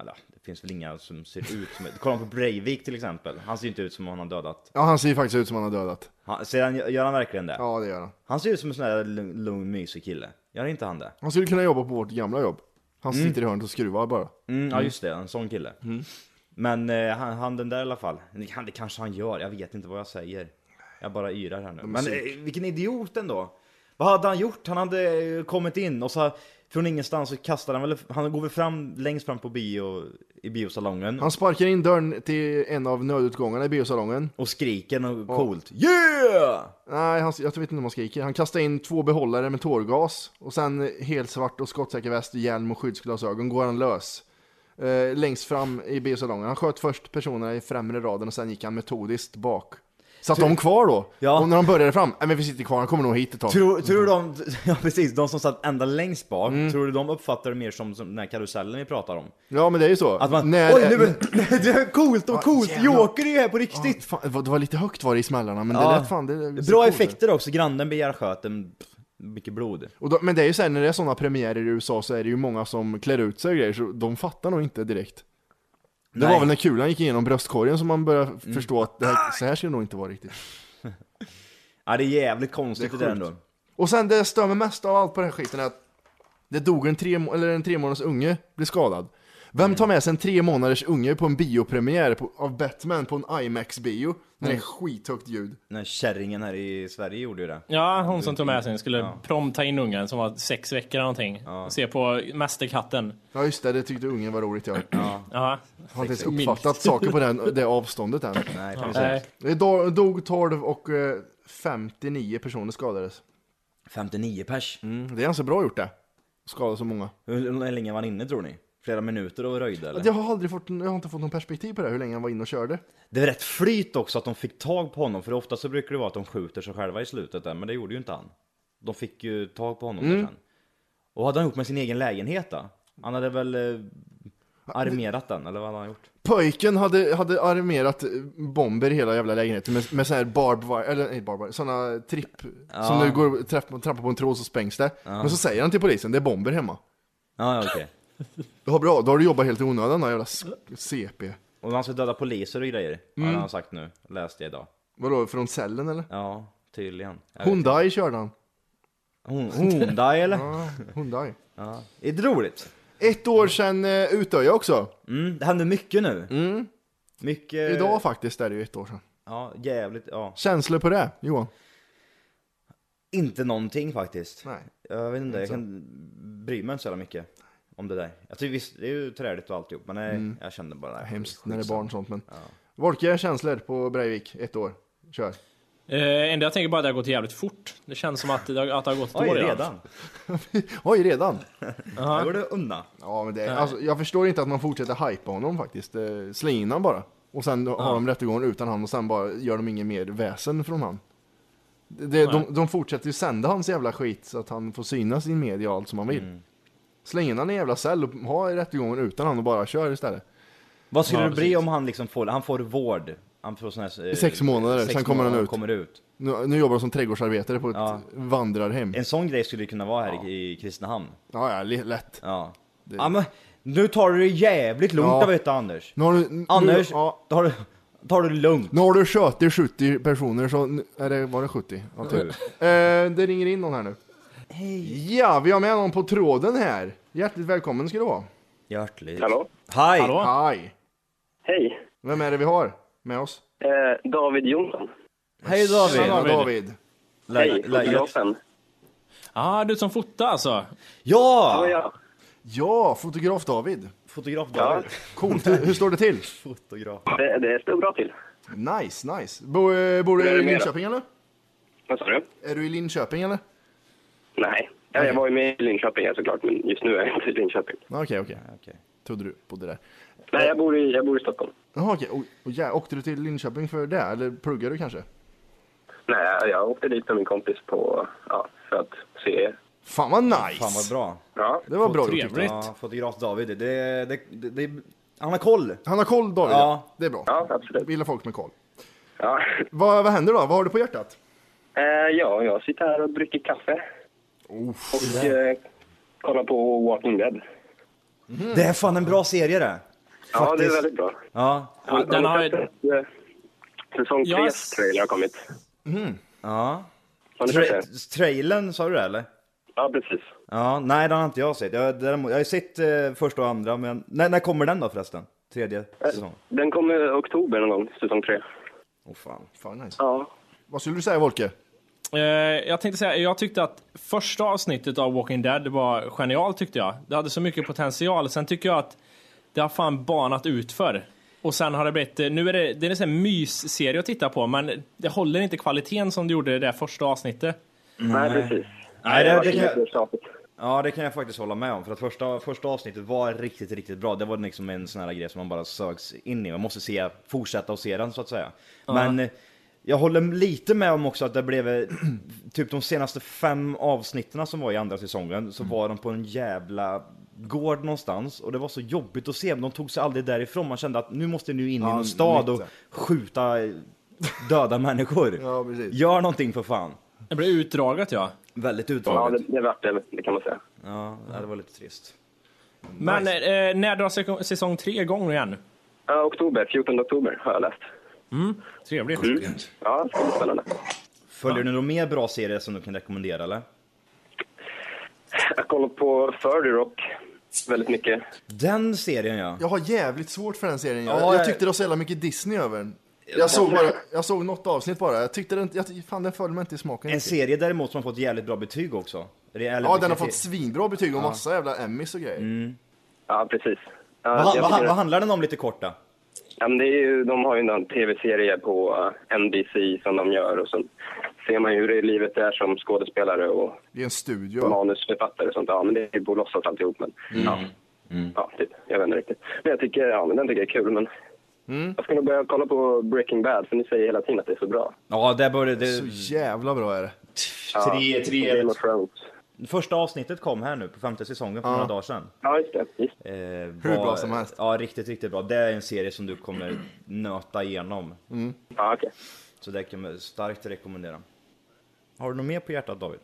Speaker 6: Eller, det finns väl inga som ser ut som... Kolla på Breivik till exempel. Han ser ju inte ut som om han har dödat.
Speaker 3: Ja, han ser ju faktiskt ut som han har dödat.
Speaker 6: Han, ser han, gör han verkligen det?
Speaker 3: Ja, det gör han.
Speaker 6: Han ser ut som en sån där lugn, lugn mysig kille. Gör inte han det?
Speaker 3: Han skulle kunna jobba på vårt gamla jobb. Han sitter i hörnet och skruvar bara.
Speaker 6: Mm, ja just det, en sån kille. Men eh, han, han den där i alla fall. Han, det kanske han gör, jag vet inte vad jag säger. Jag bara yrar här nu. Men eh, vilken idiot ändå. Vad hade han gjort? Han hade eh, kommit in och så Från ingenstans så kastar han väl, han går väl fram längst fram på bio, i biosalongen
Speaker 3: Han sparkar in dörren till en av nödutgångarna i biosalongen.
Speaker 6: och skriker något coolt. Yeah!
Speaker 3: Nej, han, jag vet inte om han skriker. Han kastar in två behållare med tårgas och sen helt svart och skottsäker väst, hjälm och skyddsglasögon går han lös. Eh, längst fram i biosalongen. Han sköt först personerna i främre raden och sen gick han metodiskt bak. Satt de kvar då?
Speaker 6: Ja.
Speaker 3: Och när de började fram, nej men vi sitter kvar, han kommer nog hit ett tag.
Speaker 6: Tror, tror du de, (laughs) ja Mm. precis, de som satt ända längst bak, tror du de uppfattar det mer som, som den här karusellen vi pratar om?
Speaker 3: Ja men det är ju så.
Speaker 6: Att man,
Speaker 3: När-
Speaker 6: oj nu, (laughs) det är coolt, det var coolt,
Speaker 3: jävlar.
Speaker 6: Joker är ju här på riktigt!
Speaker 3: Ja, fan, det var- det var lite högt var det i smällarna, men
Speaker 6: Ja.
Speaker 3: det lät fan... Det, det
Speaker 6: Bra effekter också, grannen begär sköten, pff, mycket blod.
Speaker 3: Och då, men det är ju såhär, när det är sådana premiärer i USA så är det ju många som klär ut sig och grejer, så de fattar nog inte direkt. Det
Speaker 6: Nej.
Speaker 3: var väl när kulan gick igenom bröstkorgen som man började f- förstå att det här, så här ska det nog inte vara riktigt.
Speaker 6: Ja det är jävligt konstigt det,
Speaker 3: Det är
Speaker 6: där
Speaker 3: sjukt.
Speaker 6: ändå.
Speaker 3: Och sen det stör mig mest av allt på den här skiten är att det dog en tre, må- eller en tre månaders unge blev skadad. Vem tar med sig en tre månaders unge på en biopremiär på, av Batman på en IMAX-bio när det är skithögt ljud?
Speaker 6: Den här kärringen här i Sverige gjorde ju det.
Speaker 1: Ja, hon som tog med sig skulle prompta in ungen som var sex veckor eller någonting. Och se på Mästerkatten.
Speaker 3: Ja just det, det tyckte ungen var roligt jag. Jag
Speaker 1: Ja.
Speaker 3: har inte ens uppfattat saker på den, det avståndet än.
Speaker 6: Nej, precis.
Speaker 1: Nej.
Speaker 3: Det do- dog 12 och eh, 59 personer skadades.
Speaker 6: 59 pers.
Speaker 3: Mm, det är ganska bra gjort det. Skada så många.
Speaker 6: Hur hur länge var han inne tror ni? Flera minuter och röjde eller?
Speaker 3: Jag har aldrig fått, jag har inte fått någon perspektiv på det, här, hur länge han var inne och körde.
Speaker 6: Det är rätt flyt också att de fick tag på honom, för ofta så brukar det vara att de skjuter sig själva i slutet där, men det gjorde ju inte han. De fick ju tag på honom där
Speaker 3: Mm.
Speaker 6: sen. Och hade han gjort med sin egen lägenhet då? Han hade väl eh, armerat den, eller vad hade han gjort?
Speaker 3: Pöjken hade, hade armerat bomber i hela jävla lägenheten med, med sån här barb wire, eller nej barb wire, såna tripp som nu går träff, trampar på en tråd så sprängs det. Men så säger han till polisen, det är bomber hemma.
Speaker 6: Ja, ja, okej.
Speaker 3: Ja bra, då har du jobbat helt i onödan då jävla s- CP.
Speaker 6: Och han ska döda poliser och grejer, har
Speaker 3: Mm.
Speaker 6: han sagt nu. Läste jag idag.
Speaker 3: Vadå, från cellen eller?
Speaker 6: Ja, tydligen. Jag vet inte.
Speaker 3: Hyundai körde han.
Speaker 6: Hon, Hyundai eller?
Speaker 3: Ja, Hyundai.
Speaker 6: Ja. Är det roligt?
Speaker 3: Ett år sedan eh, Utöja också.
Speaker 6: Mm, det händer mycket nu. Mycket...
Speaker 3: Mm. Idag faktiskt är det ju ett år sedan.
Speaker 6: Ja, jävligt. Ja.
Speaker 3: Känslor på det, Johan?
Speaker 6: Inte någonting faktiskt.
Speaker 3: Nej.
Speaker 6: Jag vet inte, jag kan bry mig inte så jävla mycket om det där. Jag tycker visst, det är ju träligt och alltihop, men nej, jag kände bara...
Speaker 3: Hemskt
Speaker 6: skitsamma.
Speaker 3: när Mm. det är barn och sånt men. Volkiga känslor på Breivik, ett år. Kör. (laughs)
Speaker 1: Eh, enda jag tänker bara att det har gått jävligt fort. Det känns som att det har, att det har gått ett
Speaker 6: Oj,
Speaker 1: år
Speaker 6: redan?
Speaker 3: Oj, redan?
Speaker 6: Här går det undan.
Speaker 3: Ja, men det, alltså, jag förstår inte att man fortsätter hypa honom faktiskt. Eh, Släng in han bara. Och sen har de rättegången utan han och sen bara gör de inget mer väsen från han. Det, det- de, de fortsätter ju sända hans jävla skit så att han får synas i media och allt som han vill.
Speaker 6: Mm.
Speaker 3: Släng in han i en jävla cell och ha rättegången utan han och bara kör istället.
Speaker 6: Vad skulle
Speaker 1: Ja,
Speaker 6: det bli
Speaker 1: precis.
Speaker 6: om han liksom får, han får vård? Han får sån här... eh,
Speaker 3: I sex månader, sen kommer han
Speaker 6: månader,
Speaker 3: ut.
Speaker 6: Kommer ut.
Speaker 3: Nu, nu jobbar de som trädgårdsarbetare på ett
Speaker 6: Ja.
Speaker 3: vandrarhem.
Speaker 6: En sån grej skulle det kunna vara här i i Kristinehamn.
Speaker 3: Ja, ja, li- lätt.
Speaker 6: Ja. ja men, nu tar du det jävligt lugnt
Speaker 3: Ja.
Speaker 6: där ute Anders.
Speaker 3: Nu har du, nu,
Speaker 6: Anders,
Speaker 3: ja,
Speaker 6: tar, du, tar du det lugnt.
Speaker 3: nu har du tjötit 70 personer så, nu- är det, var det 70? Ja, typ. eh, det ringer in någon här nu. Hej! Ja, vi har med någon på tråden här. Hjärtligt välkommen ska du vara.
Speaker 6: Hjärtligt.
Speaker 7: Hallå?
Speaker 6: Hej!
Speaker 1: Hallå?
Speaker 3: Hej!
Speaker 7: Hej!
Speaker 3: Vem är det vi har med oss?
Speaker 7: Eh, David Jonsson.
Speaker 6: Hej David!
Speaker 3: Tjena
Speaker 1: David.
Speaker 3: David.
Speaker 6: Lä-
Speaker 7: Hej,
Speaker 6: lä-
Speaker 7: fotografen.
Speaker 1: Ah, du som fotar alltså?
Speaker 7: Ja,
Speaker 6: Ja!
Speaker 7: ja.
Speaker 3: Ja, fotograf David.
Speaker 6: Fotograf
Speaker 7: Ja.
Speaker 6: David.
Speaker 3: Coolt, hur, hur står det till?
Speaker 6: Fotograf.
Speaker 7: Det, det står bra till.
Speaker 3: Nice, nice. Bor, eh, bor
Speaker 7: Hur är
Speaker 3: du i
Speaker 7: det med
Speaker 3: Linköping eller?
Speaker 7: Vad sa du?
Speaker 3: Är du i Linköping eller?
Speaker 7: Nej. Ja, jag var ju med i Linköping här såklart, men just nu är jag inte i Linköping.
Speaker 3: Okej, okej.
Speaker 6: Okej.
Speaker 3: Trodde du bodde där.
Speaker 7: Nej, jag bor i, jag bor i Stockholm.
Speaker 3: Jaha, okej. Och, och, ja, åkte du till Linköping för det? Eller pluggar du kanske?
Speaker 7: Nej, jag åkte dit med min kompis på, ja, för att se.
Speaker 3: Fan vad nice!
Speaker 6: Fan vad bra.
Speaker 7: Ja,
Speaker 3: Det var bra gjort.
Speaker 1: Trevligt.
Speaker 6: Ja, fotograf David. Det, det, det, det, han har koll.
Speaker 3: Han har koll David,
Speaker 6: Ja.
Speaker 3: ja. det är bra.
Speaker 7: ja absolut.
Speaker 3: Vi gillar folk med koll.
Speaker 7: Ja.
Speaker 3: Vad, vad händer då? Vad har du på hjärtat?
Speaker 7: Eh, ja, jag sitter här och dricker kaffe. Och eh, kollar på Walking Dead.
Speaker 6: Det är fan en bra serie det.
Speaker 7: Ja, det är
Speaker 6: Faktiskt.
Speaker 7: väldigt bra.
Speaker 6: Ja.
Speaker 1: Ja, den har
Speaker 7: ni
Speaker 1: ju...
Speaker 7: sett, eh, Säsong
Speaker 1: Jag-
Speaker 7: 3 trailer har kommit.
Speaker 6: ja.
Speaker 7: Har ni sett
Speaker 6: Tra
Speaker 7: det?
Speaker 6: trailern sa du det eller?
Speaker 7: Ja, precis.
Speaker 6: Ja, nej den har inte jag sett. Jag, däremot, jag har sett eh, första och andra men... När, när kommer den då förresten? Tredje
Speaker 7: Eh,
Speaker 6: säsong?
Speaker 7: Den kommer i oktober någon gång, säsong 3.
Speaker 6: Åh fan.
Speaker 3: Fan nice.
Speaker 7: Ja.
Speaker 3: Vad skulle du säga Volke?
Speaker 1: Eh, jag tänkte säga, jag tyckte att första avsnittet av Walking Dead var genialt tyckte jag. Det hade så mycket potential. Sen tycker jag att det har fan banat ut för. Och sen har det blivit, eh, nu är det, det är en sån här mysserie att titta på men det håller inte kvaliteten som det gjorde i det där första avsnittet.
Speaker 7: Nej, precis.
Speaker 6: Nej, det,
Speaker 7: var
Speaker 6: det, kan jag,
Speaker 7: lite tjatigt.
Speaker 6: ja, det kan jag faktiskt hålla med om. För att första, första avsnittet var riktigt, riktigt bra. Det var liksom en sån här grej som man bara sögs in i. Man måste se, fortsätta och se den så att säga. Men eh, jag håller lite med om också att det blev, eh, (clears throat) typ de senaste fem avsnitten som var i andra säsongen,
Speaker 3: Mm.
Speaker 6: så var de på en jävla gård någonstans och det var så jobbigt att se, men de tog sig aldrig därifrån. Man kände att nu måste ni in i
Speaker 3: Ja,
Speaker 6: någon stad och
Speaker 3: lite.
Speaker 6: skjuta eh, döda människor.
Speaker 3: (laughs) Ja, precis.
Speaker 6: Gör någonting för fan.
Speaker 1: Det blev utdraget ja.
Speaker 6: Väldigt
Speaker 7: Ja,
Speaker 6: utdraget.
Speaker 7: det, det vart det, det kan man säga.
Speaker 6: Ja, det var lite trist.
Speaker 1: Men eh, när drar säsong, säsong tre igång igen?
Speaker 7: Ja, oktober, 14 oktober har jag läst.
Speaker 1: Trevligt.
Speaker 6: Mm.
Speaker 7: Ja, det ska bli spännande.
Speaker 6: Följer du några mer bra serier som du kan rekommendera eller?
Speaker 7: Jag kollar på Thirty Rock väldigt mycket.
Speaker 6: Den serien ja.
Speaker 3: Jag har jävligt svårt för den serien. Jag,
Speaker 6: Ja,
Speaker 3: jag
Speaker 6: jag-
Speaker 3: tyckte det var så jävla mycket Disney över den. Jag såg, bara, jag såg något avsnitt bara. Jag tyckte den, jag, fan den föll mig inte i smaken.
Speaker 6: En
Speaker 3: riktigt.
Speaker 6: serie däremot som har fått jävligt bra betyg också. Eller,
Speaker 3: Ja, den har fått svinbra betyg och massa jävla Emmys och grejer.
Speaker 7: Ja, precis. Ja,
Speaker 6: vad,
Speaker 7: jag
Speaker 6: vad,
Speaker 7: tycker-
Speaker 6: vad handlar den om lite kort då?
Speaker 7: Ja, men det är ju, de har ju en tv-serie på eh, NBC som de gör och så ser man ju hur det livet är som skådespelare och
Speaker 3: Det är en studio.
Speaker 7: manusförfattare och sånt. Ja, men det är ju Bo Lossos alltihop. Men,
Speaker 6: Mm.
Speaker 7: ja. Ja, typ. Jag vet inte riktigt. Men jag tycker, ja, men den tycker jag är kul. Men
Speaker 6: Mm.
Speaker 7: Jag ska nog börja kolla på Breaking Bad för ni säger hela tiden att det är så bra.
Speaker 6: Ja, där började
Speaker 3: Så
Speaker 6: det...
Speaker 3: jävla bra är det.
Speaker 5: Tre, tre,
Speaker 7: Game of Thrones.
Speaker 6: Första avsnittet kom här nu på femte säsongen för några dagar sedan.
Speaker 7: Ja, just det. Just.
Speaker 6: Eh,
Speaker 3: Hur bra som helst.
Speaker 6: Ja, riktigt, riktigt bra. Det är en serie som du kommer nöta igenom.
Speaker 7: Ja, okej.
Speaker 6: Så det kan jag starkt rekommendera. Har du något mer på hjärtat David?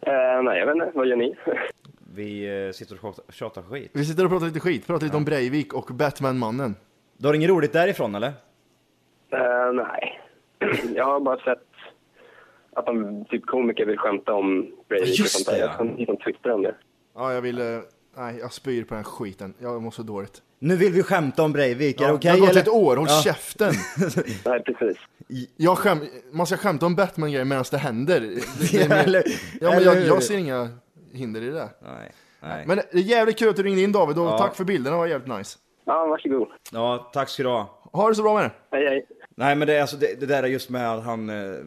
Speaker 7: Eh, nej, jag vet inte. Vad gör ni? (laughs)
Speaker 6: Vi eh, sitter och tjatar- tjatar skit.
Speaker 3: Vi sitter och pratar lite skit, pratar lite om Breivik och Batman-mannen.
Speaker 6: Du har inget roligt därifrån eller?
Speaker 7: Eh, nej. (clears throat) jag har bara sett att de, typ komiker vill skämta om Breivik och
Speaker 6: Just
Speaker 7: sånt där.
Speaker 6: det, ja.
Speaker 7: Jag kan inte twittra om det.
Speaker 3: Ja, jag vill... eh, Nej, jag spyr på den här skiten. Jag mår så dåligt.
Speaker 6: Nu vill vi skämta om Breivik, är
Speaker 3: Ja,
Speaker 6: det
Speaker 3: det
Speaker 6: okej?
Speaker 3: har gått
Speaker 6: eller?
Speaker 3: ett år, håll
Speaker 6: Ja. (laughs)
Speaker 3: käften!
Speaker 7: Nej, precis.
Speaker 3: Jag skäm... Man ska skämta om Batman-grejer medan det händer. Det,
Speaker 6: (laughs)
Speaker 3: det är mer-
Speaker 6: eller,
Speaker 3: Ja, men
Speaker 6: eller
Speaker 3: jag,
Speaker 6: hur?
Speaker 3: jag ser inga hinder i det.
Speaker 6: Nej, nej.
Speaker 3: Men det är jävligt kul att du ringde in David och
Speaker 6: Ja.
Speaker 3: tack för bilderna, det var jävligt nice.
Speaker 7: Ja, varsågod.
Speaker 6: Ja, tack ska du ha.
Speaker 3: Ha det så bra med det.
Speaker 7: Hej, hej.
Speaker 6: Nej men det, är alltså, det, det där är just med att han... eh,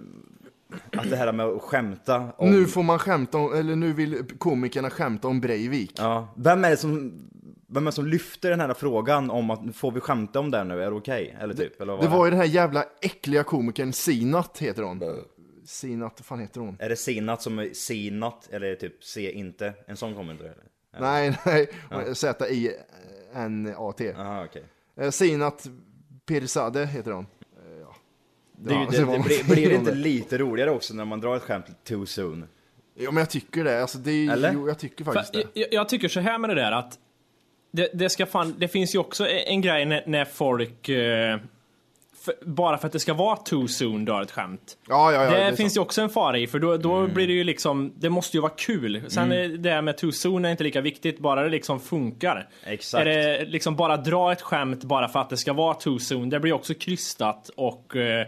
Speaker 6: Att det här med att skämta om...
Speaker 3: Nu får man skämta om, eller nu vill komikerna skämta om Breivik.
Speaker 6: Ja. Vem är det som... Vem är det som lyfter den här frågan om att får vi skämta om det här nu, är det okej? Eller typ, eller vad
Speaker 3: Det var ju den här jävla äckliga komikern Sinat heter hon. Sinat, vad fan heter hon?
Speaker 6: Är det sinat som är sinat, eller typ se inte? En sån kommer inte eller?
Speaker 3: Nej, nej. Z-I-N-A-T.
Speaker 6: Aha, okej.
Speaker 3: Eh, Sinat Pirzadeh heter hon. Eh, Ja.
Speaker 6: Det, är ju-
Speaker 3: Ja,
Speaker 6: det,
Speaker 3: var
Speaker 6: det,
Speaker 3: något
Speaker 6: blir- blir det
Speaker 3: om (laughs)
Speaker 6: inte lite roligare också när man drar ett skämt too soon? (laughs)
Speaker 3: Jo men jag tycker det, alltså det är,
Speaker 6: Eller?
Speaker 3: jo jag tycker faktiskt
Speaker 1: För,
Speaker 3: det.
Speaker 1: jag, jag tycker så här med det där att det, det, ska fan, det finns ju också en grej när, när folk eh, för, bara för att det ska vara too soon drar ett skämt.
Speaker 3: Ja, ja, ja.
Speaker 1: det,
Speaker 3: är Mm.
Speaker 1: finns
Speaker 3: sant.
Speaker 1: ju också en fara i, för då, då blir det ju liksom, det måste ju vara kul. Sen
Speaker 3: Mm.
Speaker 1: är det här med too soon är inte lika viktigt, bara det liksom funkar. Är
Speaker 6: Exakt.
Speaker 1: det liksom bara dra ett skämt bara för att det ska vara too soon, det blir också krystat och eh,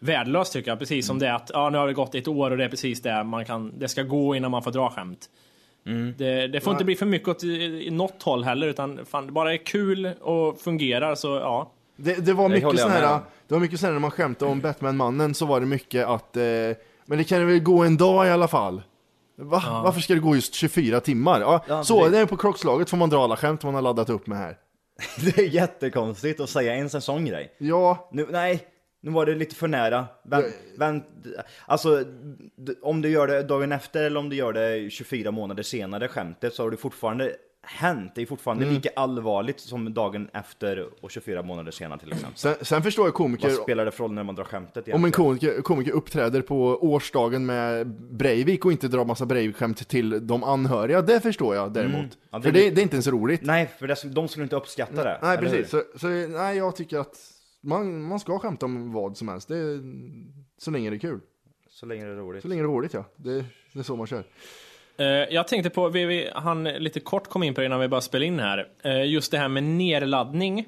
Speaker 1: värdelöst tycker jag. Precis
Speaker 3: Mm.
Speaker 1: som det att, ja nu har det gått ett år och det är precis det man kan, det ska gå innan man får dra skämt.
Speaker 3: Mm.
Speaker 1: Det, det får inte bli för mycket åt i- i något håll heller, utan fan, det bara är kul och fungerar så ja.
Speaker 3: Det, det var mycket
Speaker 6: håller jag
Speaker 3: sån
Speaker 6: med
Speaker 3: här,
Speaker 6: om.
Speaker 3: det var mycket sån här när man skämtade om Batman-mannen så var det mycket att, eh, men det kan väl gå en dag i alla fall. Va? Varför ska det gå just 24 timmar? Ja,
Speaker 6: Ja,
Speaker 3: så,
Speaker 6: precis.
Speaker 3: det är på klockslaget får man dra alla skämt man har laddat upp med här.
Speaker 6: Det är jättekonstigt att säga ens en sån grej.
Speaker 3: Ja,
Speaker 6: Nu, nej, nu var det lite för nära. Vänt, vänt, alltså, d- om du gör det dagen efter eller om du gör det 24 månader senare, skämtet, så har det fortfarande hänt. Det är fortfarande
Speaker 3: Mm.
Speaker 6: lika allvarligt som dagen efter och 24 månader senare till exempel.
Speaker 3: sen, sen förstår jag komiker
Speaker 6: Vad spelar det för roll när man drar skämtet
Speaker 3: om en
Speaker 6: egentligen?
Speaker 3: komiker, komiker uppträder på årsdagen med Breivik och inte drar massa Breivik-skämt till de anhöriga, det förstår jag däremot.
Speaker 6: Mm. Ja, det
Speaker 3: För
Speaker 6: blir-
Speaker 3: det, det är inte ens roligt.
Speaker 6: Nej, för det, de skulle inte uppskatta det.
Speaker 3: Nej,
Speaker 6: eller
Speaker 3: precis.
Speaker 6: hur?
Speaker 3: Så, så nej, jag tycker att man, man ska skämta om vad som helst. Det, är- så länge det är kul.
Speaker 6: Så länge det är roligt.
Speaker 3: Så länge det är roligt ja. Det, det är så man kör.
Speaker 1: Eh, jag tänkte på, vi, vi, han lite kort kom in på det innan vi började spela in här, Eh, just det här med nedladdning.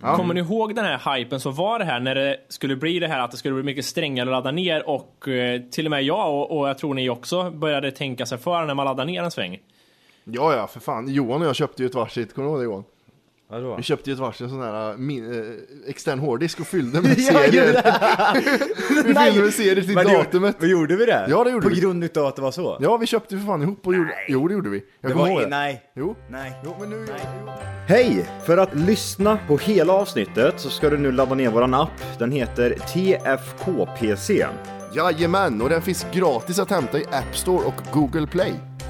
Speaker 1: Kommer ni ihåg den här hypen som var det här när det skulle bli det här att det skulle bli mycket strängare att ladda ner och eh, till och med jag och, och jag tror ni också började tänka sig för när man laddar ner en sväng.
Speaker 3: Ja, ja, för fan. Johan och jag köpte ju ett varsitt, kommer du ihåg det Johan?
Speaker 6: Vadå?
Speaker 3: Vi köpte ju ett varsin sån här äh, min, äh, extern hårddisk och fyllde (laughs) med
Speaker 6: Ja,
Speaker 3: serier. (laughs) vi
Speaker 6: Nej.
Speaker 3: fyllde med serier till
Speaker 6: Men det-
Speaker 3: datumet.
Speaker 6: Men gjorde vi det?
Speaker 3: Ja, det gjorde
Speaker 6: På
Speaker 3: vi.
Speaker 6: grund utav att det var så?
Speaker 3: Ja, vi köpte ju för fan ihop och gjorde... Jo, det gjorde vi. Jag
Speaker 6: det
Speaker 3: kommer
Speaker 6: var,
Speaker 3: ihåg det.
Speaker 6: nej.
Speaker 3: Jo.
Speaker 6: Nej.
Speaker 3: Jo, men nu...
Speaker 6: Hej! För att lyssna på hela avsnittet så ska du nu ladda ner våran app. Den heter TFKPC.
Speaker 3: Jajamän, och den finns gratis att hämta i App Store och Google Play.